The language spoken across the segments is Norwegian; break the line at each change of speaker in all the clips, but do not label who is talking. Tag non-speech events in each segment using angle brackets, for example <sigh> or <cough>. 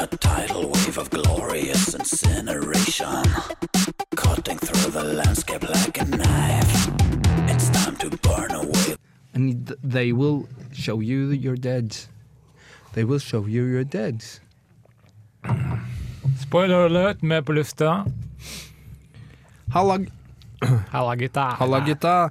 A tidal wave of glorious incineration, cutting through the landscape like a knife. It's time to burn away.
And th- they will show you that you're dead. They will show you you're dead.
Spoiler alert, vi er på lufta.
Halla,
Halla, gutta.
halla gutta.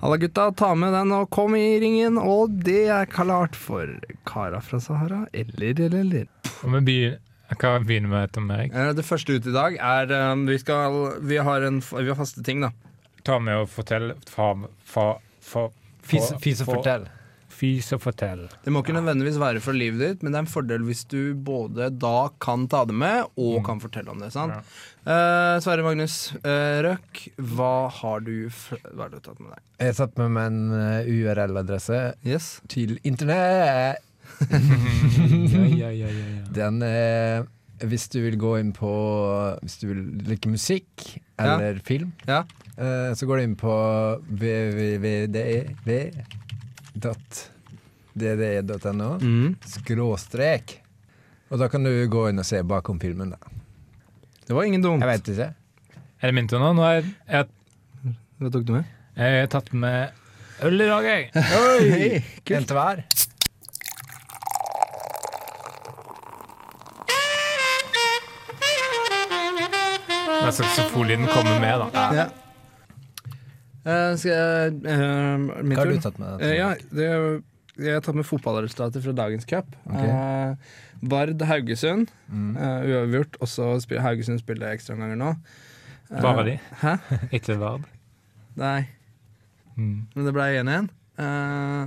Halla gutta, ta med den og kom i ringen, og det er klart for kara fra Sahara. Eller, eller, eller.
Og vi begynner, hva begynner vi med, Tom Erik?
Eh, Det første ut i dag er eh, Vi, skal, vi, har, en, f- vi har faste ting, da.
Ta med og fortell. Fa, fa, fa,
Fis,
fa-
fis og
fa-
fortell.
Fis og fortell.
Det må ikke nødvendigvis være fra livet ditt, men det er en fordel hvis du både da kan ta det med, og kan fortelle om det. sant?
Ja.
Eh, Sverre Magnus eh, Røk, hva har du, f hva har du tatt med deg?
Jeg satt med meg en eh, URL-adresse
Yes?
til internett.
<laughs> ja, ja, ja, ja, ja.
Den er Hvis du vil gå inn på Hvis du vil like musikk eller film,
Ja.
eh, så går du inn på www.dde.no e
Mm.
Mm. skråstrek. Og da kan du gå inn og se bakom filmen, da.
Det var ingen dumt.
Jeg veit ikke.
Er det min tur nå? Nå har jeg, jeg,
Hva tok du med?
jeg har tatt med øl i dag, jeg.
Oi! En til hver.
Men saksofonlyden kommer med, da.
Ja. Eh, skal jeg eh, Min
Hva har
tur?
du tatt med?
Eh, ja, det, jeg har tatt med fotballresultater fra dagens cup.
Ok.
Eh, Vard Haugesund,
Mm.
eh, uavgjort. Og så spiller Haugesund spiller ekstraomganger nå. Eh,
Bare de.
Hæ?
Ikke Vard.
Nei,
Mm.
men det ble 1-1. Eh,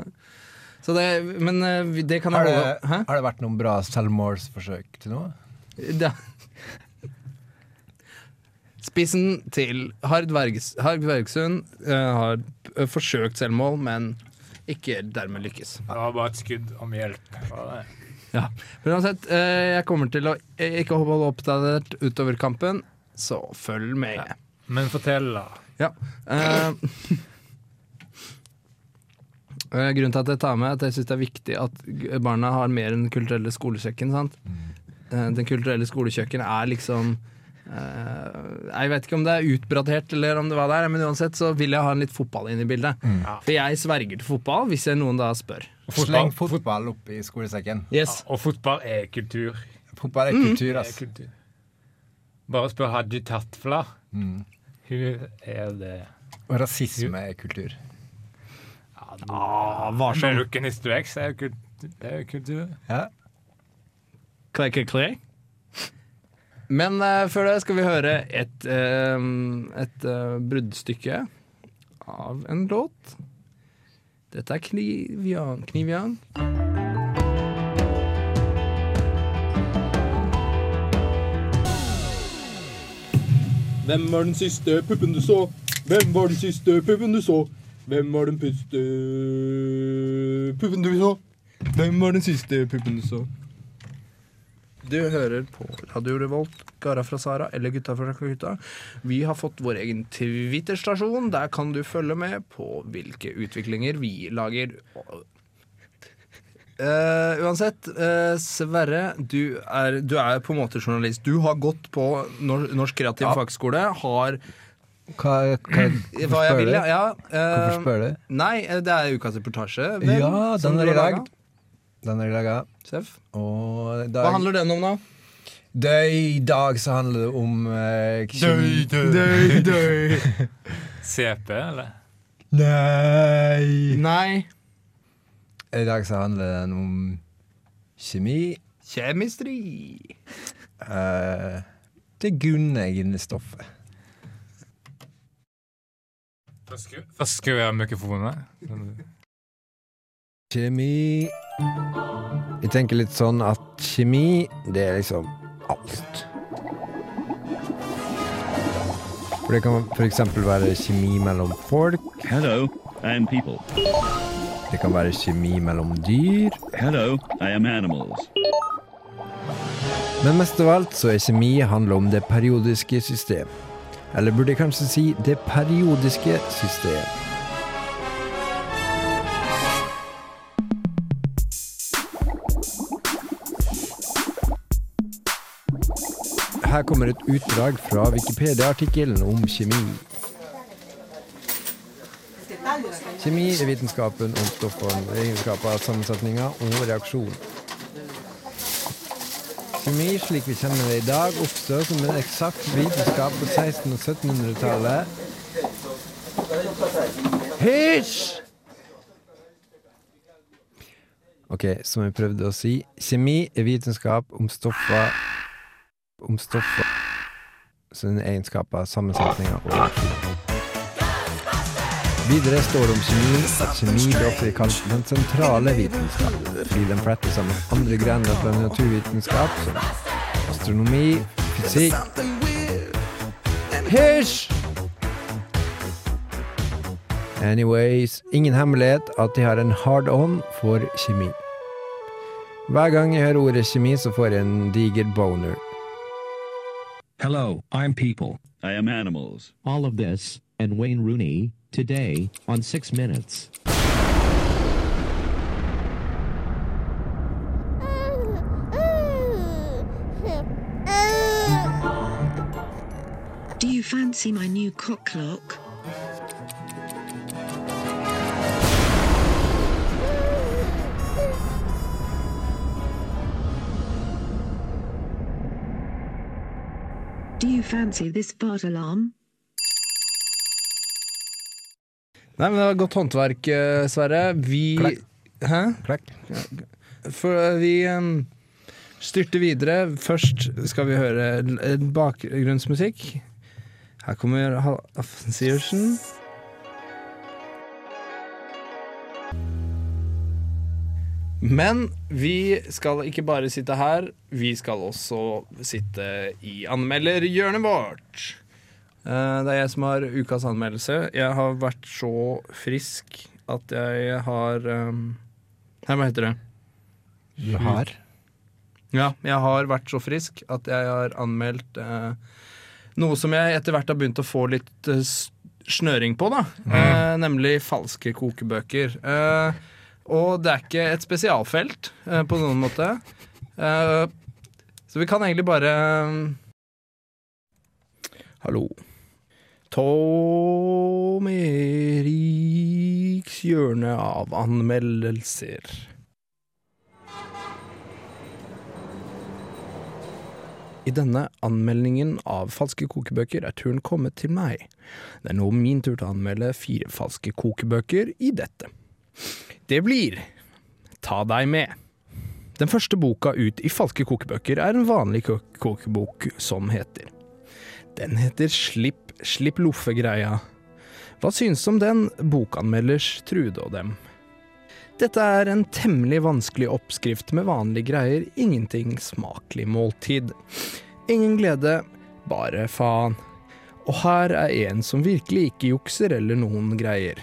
så det Men eh, vi- det kan jeg
Har det,
holde Hæ?
har det vært noen bra selvmordsforsøk til nå?
Ja. Spissen til Hard Verges- Hard Bergsund eh, har eh, forsøkt selvmål, men ikke dermed lykkes.
Det var bare et skudd om hjelp. var det?
Men uansett, eh, jeg kommer til å eh, ikke holde oppdatert utover kampen, så følg med.
Men fortell, da.
Eh, <laughs> eh, grunnen til at jeg tar med, er at jeg syns det er viktig at g- barna har mer enn Den kulturelle skolekjøkken. Sant? Eh, den kulturelle skolekjøkken er liksom eh, Jeg vet ikke om det er utbradert, eller om det var der, men uansett så vil jeg ha en litt fotball inn i bildet.
Ja.
For jeg sverger til fotball hvis jeg noen da spør.
Sleng fotball opp i skolesekken.
Yes.
Og fotball er kultur.
Fotball
Mm.
er kultur,
Er
ass.
kultur. Bare spør Haji Tatfla.
Mm.
Hun er det.
Og rasisme er kultur.
Ah, varsom.
American History X er jo kultur. Det er jo kultur.
Ja.
Click, click, click. Men eh, før det skal vi høre et, eh, et eh, bruddstykke av en låt. Dette er Knivjan. Knivjan.
Hvem var den siste puppen du så? Hvem var den siste puppen du så? Hvem var den puste puppen du så? Hvem var den siste puppen du så?
Du hører på Radio Revolt, Gara fra Sara eller Gutta fra Gutta. Vi har fått vår egen Twitter-stasjon. Der kan du følge med på hvilke utviklinger vi lager. Eh, uansett, eh, Sverre, du er, du er på en måte journalist. Du har gått på Nor Norsk kreativ
Ja.
fagskole. Har
Hva, hva, <clears throat>
hva jeg vil, ja. ja eh,
Hvorfor spør du?
Nei, eh, det er ukas reportasje. vel,
Ja,
som
den
du
er i
har
dag.
laget.
Den er i dag, ja.
Seff.
Og
Hva
i dag,
handler den om, da?
det, I dag så handler det om eh, kjemi-
CP, eller?
Nei!
Nei.
I dag så handler den om kjemi.
Kjemistri.
eh, det grunnleggende stoffet.
Først skrur jeg av mikrofonen.
Kjemi Jeg tenker litt sånn at kjemi, det er liksom alt. For det kan f.eks. være kjemi mellom folk.
Hello, I am people.
Det kan være kjemi mellom dyr.
Hello, I am animals.
Men mest av alt så er kjemi handler om det periodiske system. Eller burde jeg kanskje si det periodiske system. Her kommer et utdrag fra Wikipedia-artikkelen om kjemi. Kjemi er vitenskapen om stoffene, egenskaper, sammensetninger og reaksjon. Kjemi, slik vi kjenner det i dag, oppstår som en eksakt vitenskap på 1600- og 1700-tallet. Hysj! Ok, som jeg prøvde å si, kjemi er vitenskap om stoffer Om stoffer sine egenskaper, sammensetninger og reaksjoner. Videre står det om kjemi at kjemi blir ofte kalt den sentrale vitenskap, fordi den fletter sammen andre grener fra naturvitenskap, som astronomi, fysikk Hysj! Anyways, ingen hemmelighet at de har en hard on for kjemi. Hver gang jeg hører ordet kjemi, så får jeg en diger boner.
Hello, I'm people.
I am animals.
All of this, and Wayne Rooney, today, on 6 Minutes.
Do you fancy my new cock clock? Do you fancy this fart alarm?
Nei, men det var godt håndverk, eh, Sverre. Vi
Klakk.
Hæ?
Klakk.
For eh, vi em, styrter videre. Først skal vi høre l- eh, bakgrunnsmusikk. Her kommer Hal- Aftensiversen. Men vi skal ikke bare sitte her, vi skal også sitte i anmelderhjørnet vårt. Eh, Det er jeg som har ukas anmeldelse. Jeg har vært så frisk at jeg har ehm, Nei, hva heter det?
Du har?
Ja, jeg har vært så frisk at jeg har anmeldt eh, noe som jeg etter hvert har begynt å få litt eh, s- snøring på, da. Eh, nemlig falske kokebøker. Eh, og det er ikke et spesialfelt eh, på noen måte. Eh, så vi kan egentlig bare eh, Hallo. Tom Eriks hjørne av anmeldelser. I denne anmeldingen av falske kokebøker er turen kommet til meg. Det er nå min tur til å anmelde fire falske kokebøker i dette. Det blir Ta deg med. Den første boka ut i falske kokebøker er en vanlig ko- kokebok som heter Den heter Slipp, slipp loffegreia. Hva synes om den, bokanmelders Trude og dem? Dette er en temmelig vanskelig oppskrift med vanlige greier, ingenting smakelig måltid. Ingen glede, bare faen. Og her er en som virkelig ikke jukser eller noen greier.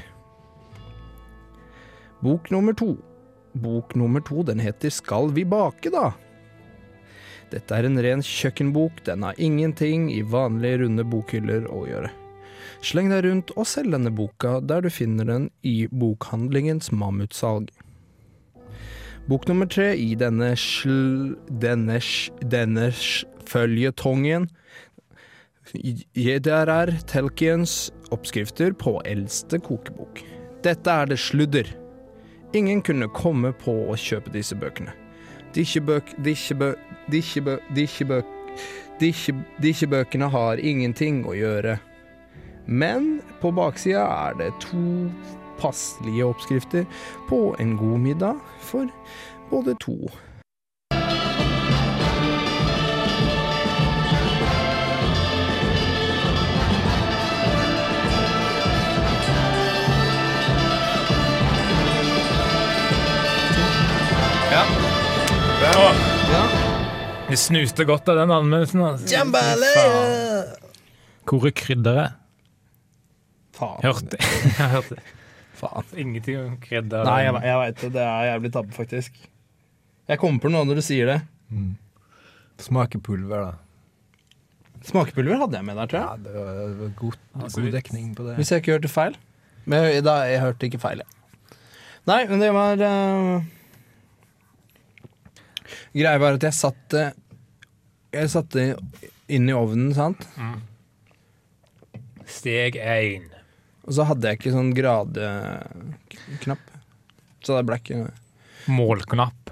Bok nummer to. Bok nummer to, den heter Skal vi bake, da? Dette er en ren kjøkkenbok, den har ingenting i vanlige runde bokhyller å gjøre. Sleng deg rundt og selg denne boka der du finner den i bokhandlingens mammutsalg. Bok nummer tre i denne sl... denne sj... denne sj... føljetongen i- Der er Telkiens oppskrifter på eldste kokebok. Dette er det sludder. Ingen kunne komme på å kjøpe disse bøkene. Dikkjebøk... Dikkjebø... Dikkjebø... Dikkjebø... Dikkjebøkene har ingenting å gjøre. Men på baksida er det to passelige oppskrifter på en god middag for både to.
Vi snuste godt av den anmeldelsen. Altså. Jambalaya! Hvor er krydderet?
Faen.
Hørte <laughs> jeg. har hørt det.
faen.
Ingenting om krydder.
Nei, jeg, jeg veit det. Det er jævlig tabbe, faktisk. Jeg kommer på noe når du sier det.
Smaker pulver, da.
Smakepulver hadde jeg med der, tror jeg.
det var god,
Altså, vi-
dekning på det.
Hvis jeg ikke hørte feil. Men jeg, da, jeg hørte ikke feil, jeg. Nei, men det var eh, Greia var at jeg satt eh, Jeg satte inn i ovnen, sant?
Steg én.
Og så hadde jeg ikke sånn gradeknapp. Så det ble ikke
Målknapp.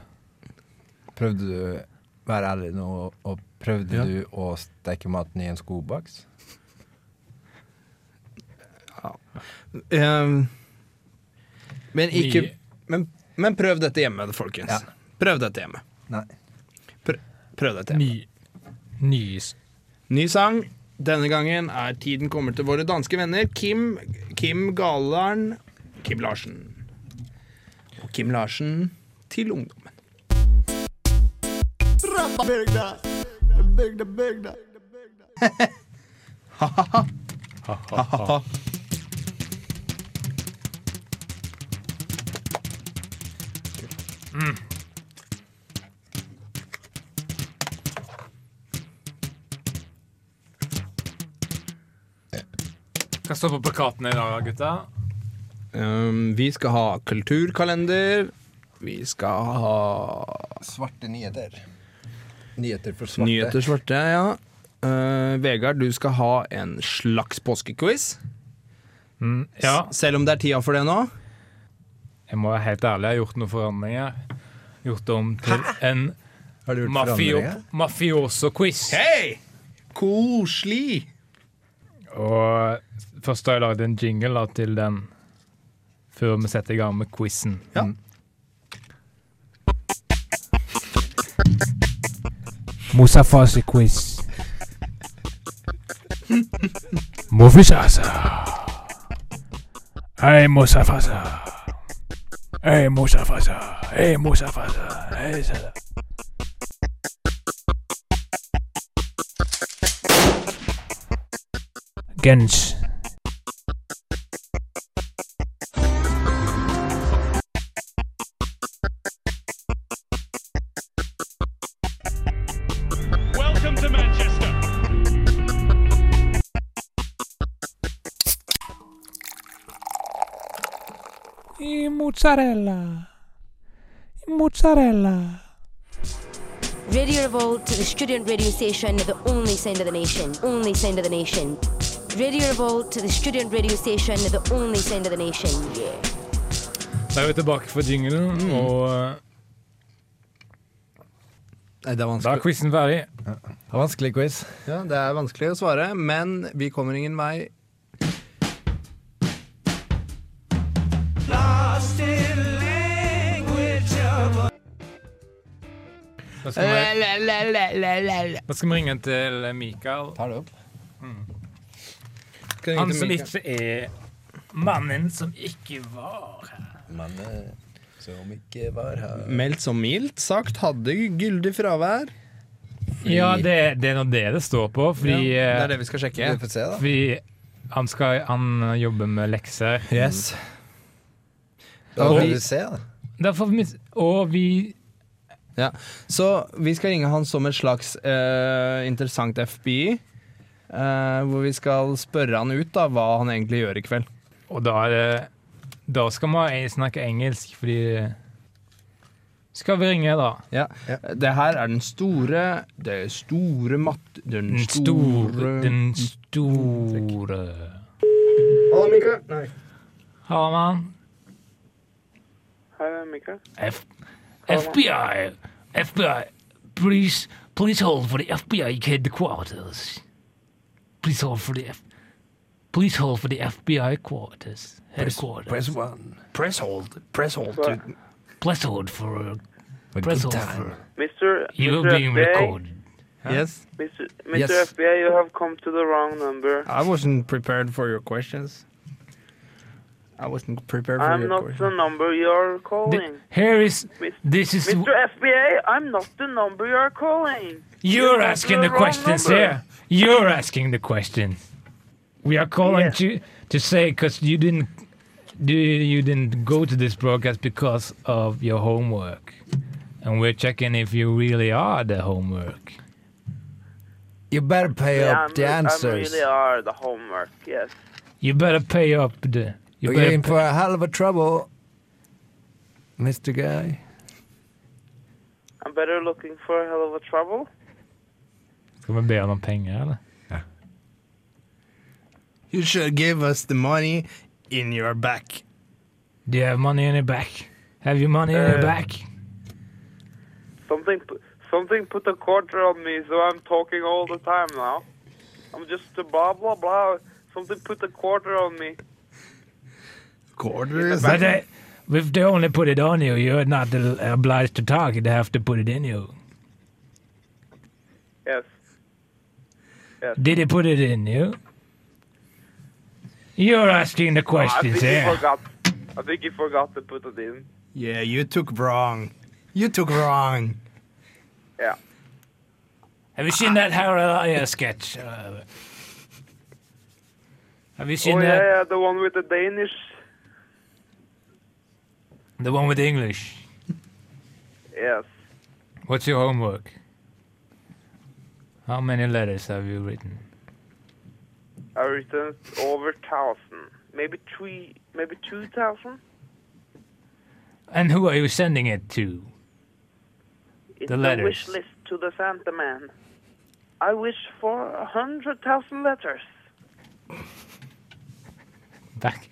Prøvde du Vær ærlig nå, og prøvde
Ja.
du å steke maten i en skobaks?
Ehm, Men ikke
Mye.
men, men prøv dette hjemme, folkens.
Ja.
Prøv dette hjemme.
Nei.
Prøv, prøv dette hjemme.
Ny. Nys.
Ny sang. Denne gangen er tiden kommer til våre danske venner Kim, Kim Galarn Kim Larsen. Og Kim Larsen til ungdommen.
Hva står på plakatene i dag, gutta?
Ehm, vi skal ha kulturkalender. Vi skal ha
Svarte nyheter. Nyheter for svarte.
Nyheter svarte, ja. Eh, Vegard, du skal ha en slags påskequiz.
Ja.
Selv om det er tida for det nå.
Jeg må være helt ærlig, jeg har gjort noen forandringer. Gjort om til en
Har du gjort
mafio
forandringer?
mafioso-quiz.
Hei! Koselig!
Og først har jeg laget en jingle da, til den, før vi setter i gang med quizen.
Ja.
Mosafasi-quiz. Mofisasa. Hei, Mosafasa. Hei, Mosafasa. Hei, Mosafasa. Hei, Sada. Gens.
Welcome to Manchester.
I mozzarella. I mozzarella.
Radio Revolt, the student radio station, the only sound of the nation, only sound of the nation. Radio Revolt, the student radio station, the only sound of the nation. Yeah.
Da er vi tilbake for jinglen,
Mm.
og eh,
Nei, det, er
da er
vanskelig.
quizen ferdig.
Det var Vanskelig quiz.
Ja, det er vanskelig å svare, men vi kommer ingen vei.
Da skal vi, da skal vi ringe til Mikael,
Tar det opp?
han som ikke er mannen som ikke var her.
Mannen eh, som ikke var her
Meldt som mildt sagt hadde gyldig fravær.
Ja, det, det er nå det det står på, fordi,
Ja, det er
eh,
det vi skal sjekke.
Vi får se, da.
fordi han, skal, han jobber med lekser.
Yes.
Da
Og
får
vi-
vi se, da.
Derfor, mis- og vi
Ja. Så vi skal ringe han som et slags eh, interessant FBI. eh, hvor vi skal spørre han ut da hva han egentlig gjør i kveld.
Og da er det Da skal vi snakke engelsk, fordi Skal vi ringe, da?
Ja. Det her er den store Det store matt... Den
Den
store
store Den store
Hallo, Mikael. Nei.
Halla, mann.
Hi, I'm Mikael.
F- FBI, FBI, please, please hold for the FBI headquarters. Please hold for the F. Please hold for the FBI quarters. Headquarters. Press,
one.
press hold.
Press hold
to-
Press hold for. uh,
For
Press
good
hold
time.
for.
Mr.
You're
Mr.
being
FBI,
recorded.
Yes.
Mr.
Yes.
Mr. FBI, you have come to the wrong number.
I wasn't prepared for your questions. I wasn't prepared for
I'm
your
not the
questions.
number you're calling.
Here is.
Mis-
This is.
Mr. FBI, I'm not the number you're calling.
You're
You're
asking
the
the
wrong
questions
number.
here. You're asking the question. We are calling
Yes.
to to say because you didn't do you didn't go to this broadcast because of your homework, and we're checking if you really are the homework.
You better pay
Yeah,
up
I'm,
the answers.
I'm really are the homework, yes.
You better pay up
Oh,
the. You
You're
better
in for a hell of a trouble, Mr. Guy.
I'm better looking for a hell of a trouble.
Skal vi be han om penger, eller?
You should give us the money in your back.
Do you have money in your back? Have your money in your
Uh,
back?
Something, pu- something put a quarter on me, so I'm talking all the time now. I'm just a blah blah blah. Something put a quarter on me.
Quarters?
But they, if they only put it on you, you're not obliged to talk. They have to put it in you.
Yes. Yes.
Did he put it in you? You're asking the
Oh, I
questions
think
here.
he forgot. I think he forgot to put it in.
Yeah, you took wrong. You took wrong.
Yeah.
Have you seen that Harold Arya sketch? Uh, have you seen
oh
that?
yeah, yeah, the one with the Danish.
The one with the English.
Yes.
What's your homework? How many letters have you written?
I returned over thousand, maybe three, maybe two thousand.
And who are you sending it to?
It's
The
a
letters.
wish list to the Santa Man. I wish for a hundred thousand letters.
Back.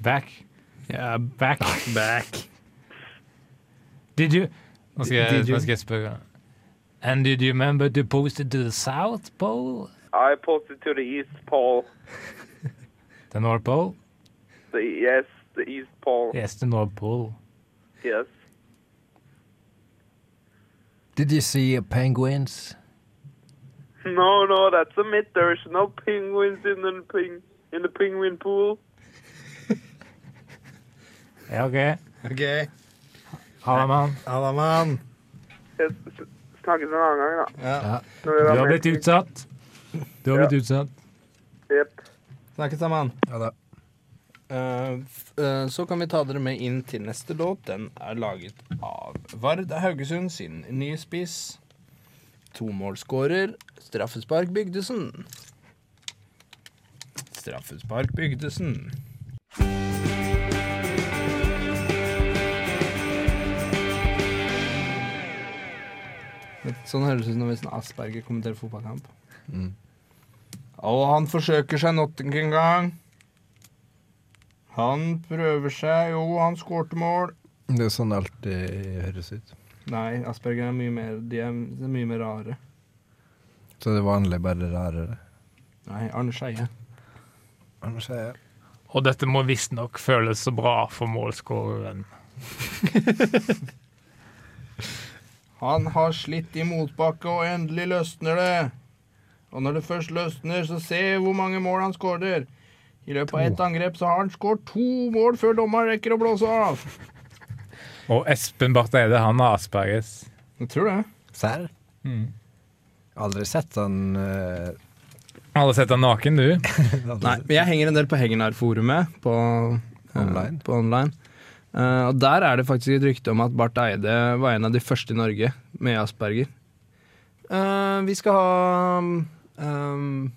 Back. Yeah, back. Back. Did you? Nå skal jeg,
Did you?
nå skal jeg spørre. And did you remember to post it to the South Pole?
I posted to the East Pole.
The North Pole?
The yes, the East Pole.
Yes, the North Pole.
Yes. <laughs>
Did you see penguins?
No, no, that's a myth. There's no penguins in the ping in the penguin pool.
Ja, OK.
Okay.
Halla, mann.
Halla, mann.
Yes, s- Snakkes en annen gang, da.
Ja.
Når vi
Du
var
har
med.
blitt utsatt. Du har blitt utsatt.
Jep.
Snakkes sammen. Eh, f- eh, så kan vi ta dere med inn til neste låt. Den er laget av Vard Haugesund sin nye spiss. Tomålsskårer, straffespark Bygdesen. Straffespark Bygdesen. Sånn høres det ut når Vesen Asperger kommenterer fotballkamp. Og han forsøker seg nok en gang. Han prøver seg. Jo, han skårte mål.
Det er jo sånn det alltid høres ut.
Nei, Asperger er mye mer De er de er mye mer rare.
Så det er vanlig bare rarere.
Nei, Arne Skeie.
Og dette må visstnok føles så bra for målskåreren.
Han har slitt i motbakke, og endelig løsner det. Og når det først løsner, så se hvor mange mål han skårer. I løpet av ett angrep så har han skåret to mål før dommeren rekker å blåse av.
Og Espen Barth Eide, han har asperges.
Jeg tror det.
Serr? Aldri sett han eh,
Alle sett han naken, du?
Nei, men jeg henger en del på Hegnar-forumet på eh,
Online.
På online. Eh, og der er det faktisk et rykte om at Barth Eide var en av de første i Norge med asperger. Eh, vi skal ha um,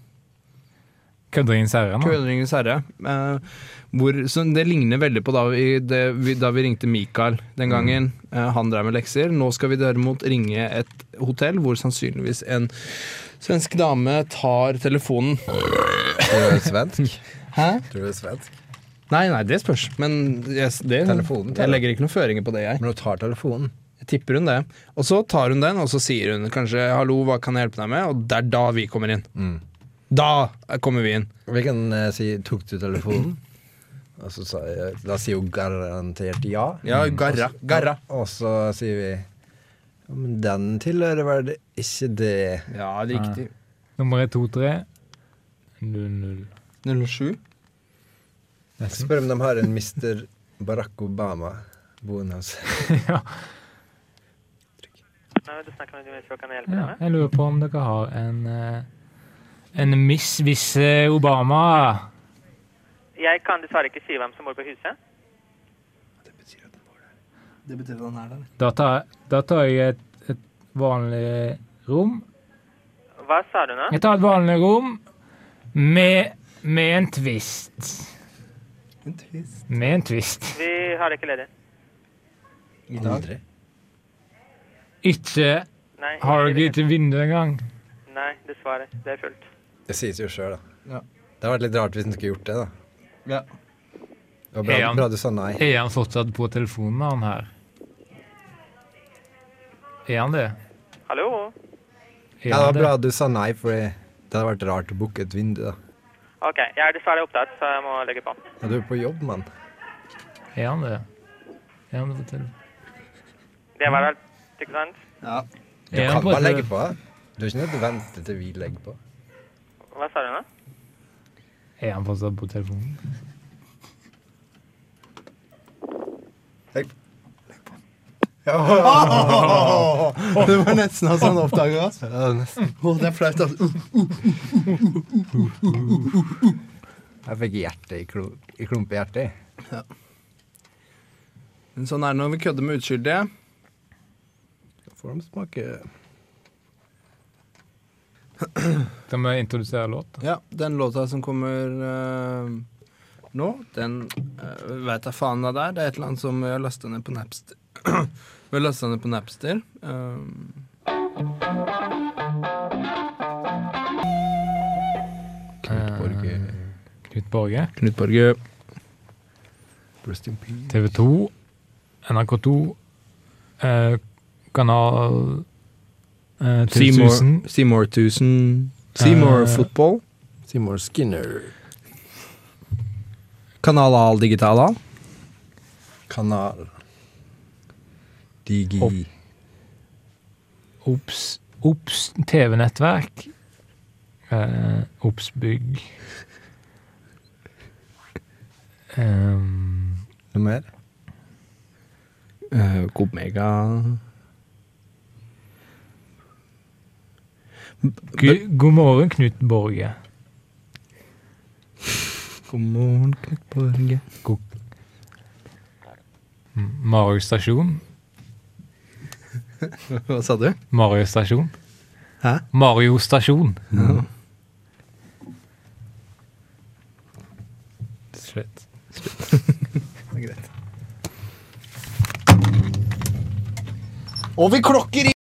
Kødderingens herre, nå.
Kødringens herre. eh, hvor, så det ligner veldig på da vi, det, vi, da vi ringte Mikael den gangen. Eh, han drev med lekser. Nå skal vi derimot ringe et hotell hvor sannsynligvis en svensk dame tar telefonen.
Tror du det er svensk?
Hæ?
Tror du det er svensk?
Nei, nei, det spørs. Men jeg, det,
Telefonen tar
jeg
det.
legger ikke noen føringer på det, jeg.
Men hun tar telefonen.
Jeg tipper hun det. Og så tar hun den, og så sier hun kanskje 'hallo, hva kan jeg hjelpe deg med?' Og det er da vi kommer inn.
Mm.
Da kommer vi inn.
Vi kan eh, si 'tok du telefonen'? Og så sa jeg, da sier hun garantert ja.
Ja, garra, garra.
Og så sier vi «Ja, men den tilhører vel ikke det.
Ja,
riktig. Nummer 123 00.
07?
Spør om de har en Mr. Barack Obama boende hos
Nei, du snakker med Dimitri, hva kan jeg hjelpe
Ja,
deg med?
jeg lurer på om dere har en eh, en Miss Visse Obama.
Jeg kan dessverre ikke si hvem som bor på huset.
Det betyr at han er der.
Da tar, da tar jeg et, et vanlig rom.
Hva sa du nå?
Jeg tar et vanlig rom med, med en twist.
En twist?
Med en twist.
Vi har ikke ledig.
I
dag?
Ikke
Nei,
Har
jeg
dere ikke vindu engang?
Nei, dessverre. Det er fullt.
Det sies jo sjøl, da.
Ja.
Det hadde vært litt rart hvis den skulle gjort det, da.
Ja.
Det var bra,
Er han-
bra du sa nei.
Er han fortsatt på telefonen, han her? Er han det?
Hallo?
Ja, det var bra du sa nei, for det hadde vært rart å booke et vindu, da.
Ok, jeg er dessverre opptatt, så jeg må legge på.
Ja, du er på jobb, mann.
Er han det? Er han det på telefonen?
Det var alt, ikke sant?
Ja.
Du
Er
kan
han på
bare
tele-
legge på. da. Du er ikke nødt til å vente til vi legger på.
Hva sa du nå?
Er han fortsatt på telefonen?
Det var nesten altså han oppdaga oss. Å, det er flaut, altså.
Jeg fikk hjertet i, klo, i klump i hjertet.
Men sånn er det når vi kødder med uskyldige.
Da får de smake
Skal vi introdusere låt?
Ja, den låta som kommer eh, nå, den uh, veit jeg faen hva det er. Det er et eller annet som vi har lasta ned på Napster. <clears throat> vi har lasta ned på Napster. Um,
Knut Borge.
Knut Borge.
Knut Borge.
Rest in peace.
TV 2, NRK 2, eh, kanal eh, TV
Seymour-
1000.
Seymour 1000. Seymour
Eh,
Football.
Seymour Skinner.
Kanal Al Digitala.
Kanal Digi.
Opp. Ops, Ops TV-nettverk. Eh, Ops bygg. Ehm,
Noe mer?
Uh, Coop Mega.
gu- god morgen, Knut Borge.
God morgen, Knut Borge.
God M- Mario stasjon.
Hva sa du?
Mario stasjon.
Hæ?
Mario stasjon. Slutt.
Det er greit.
Og vi klokker i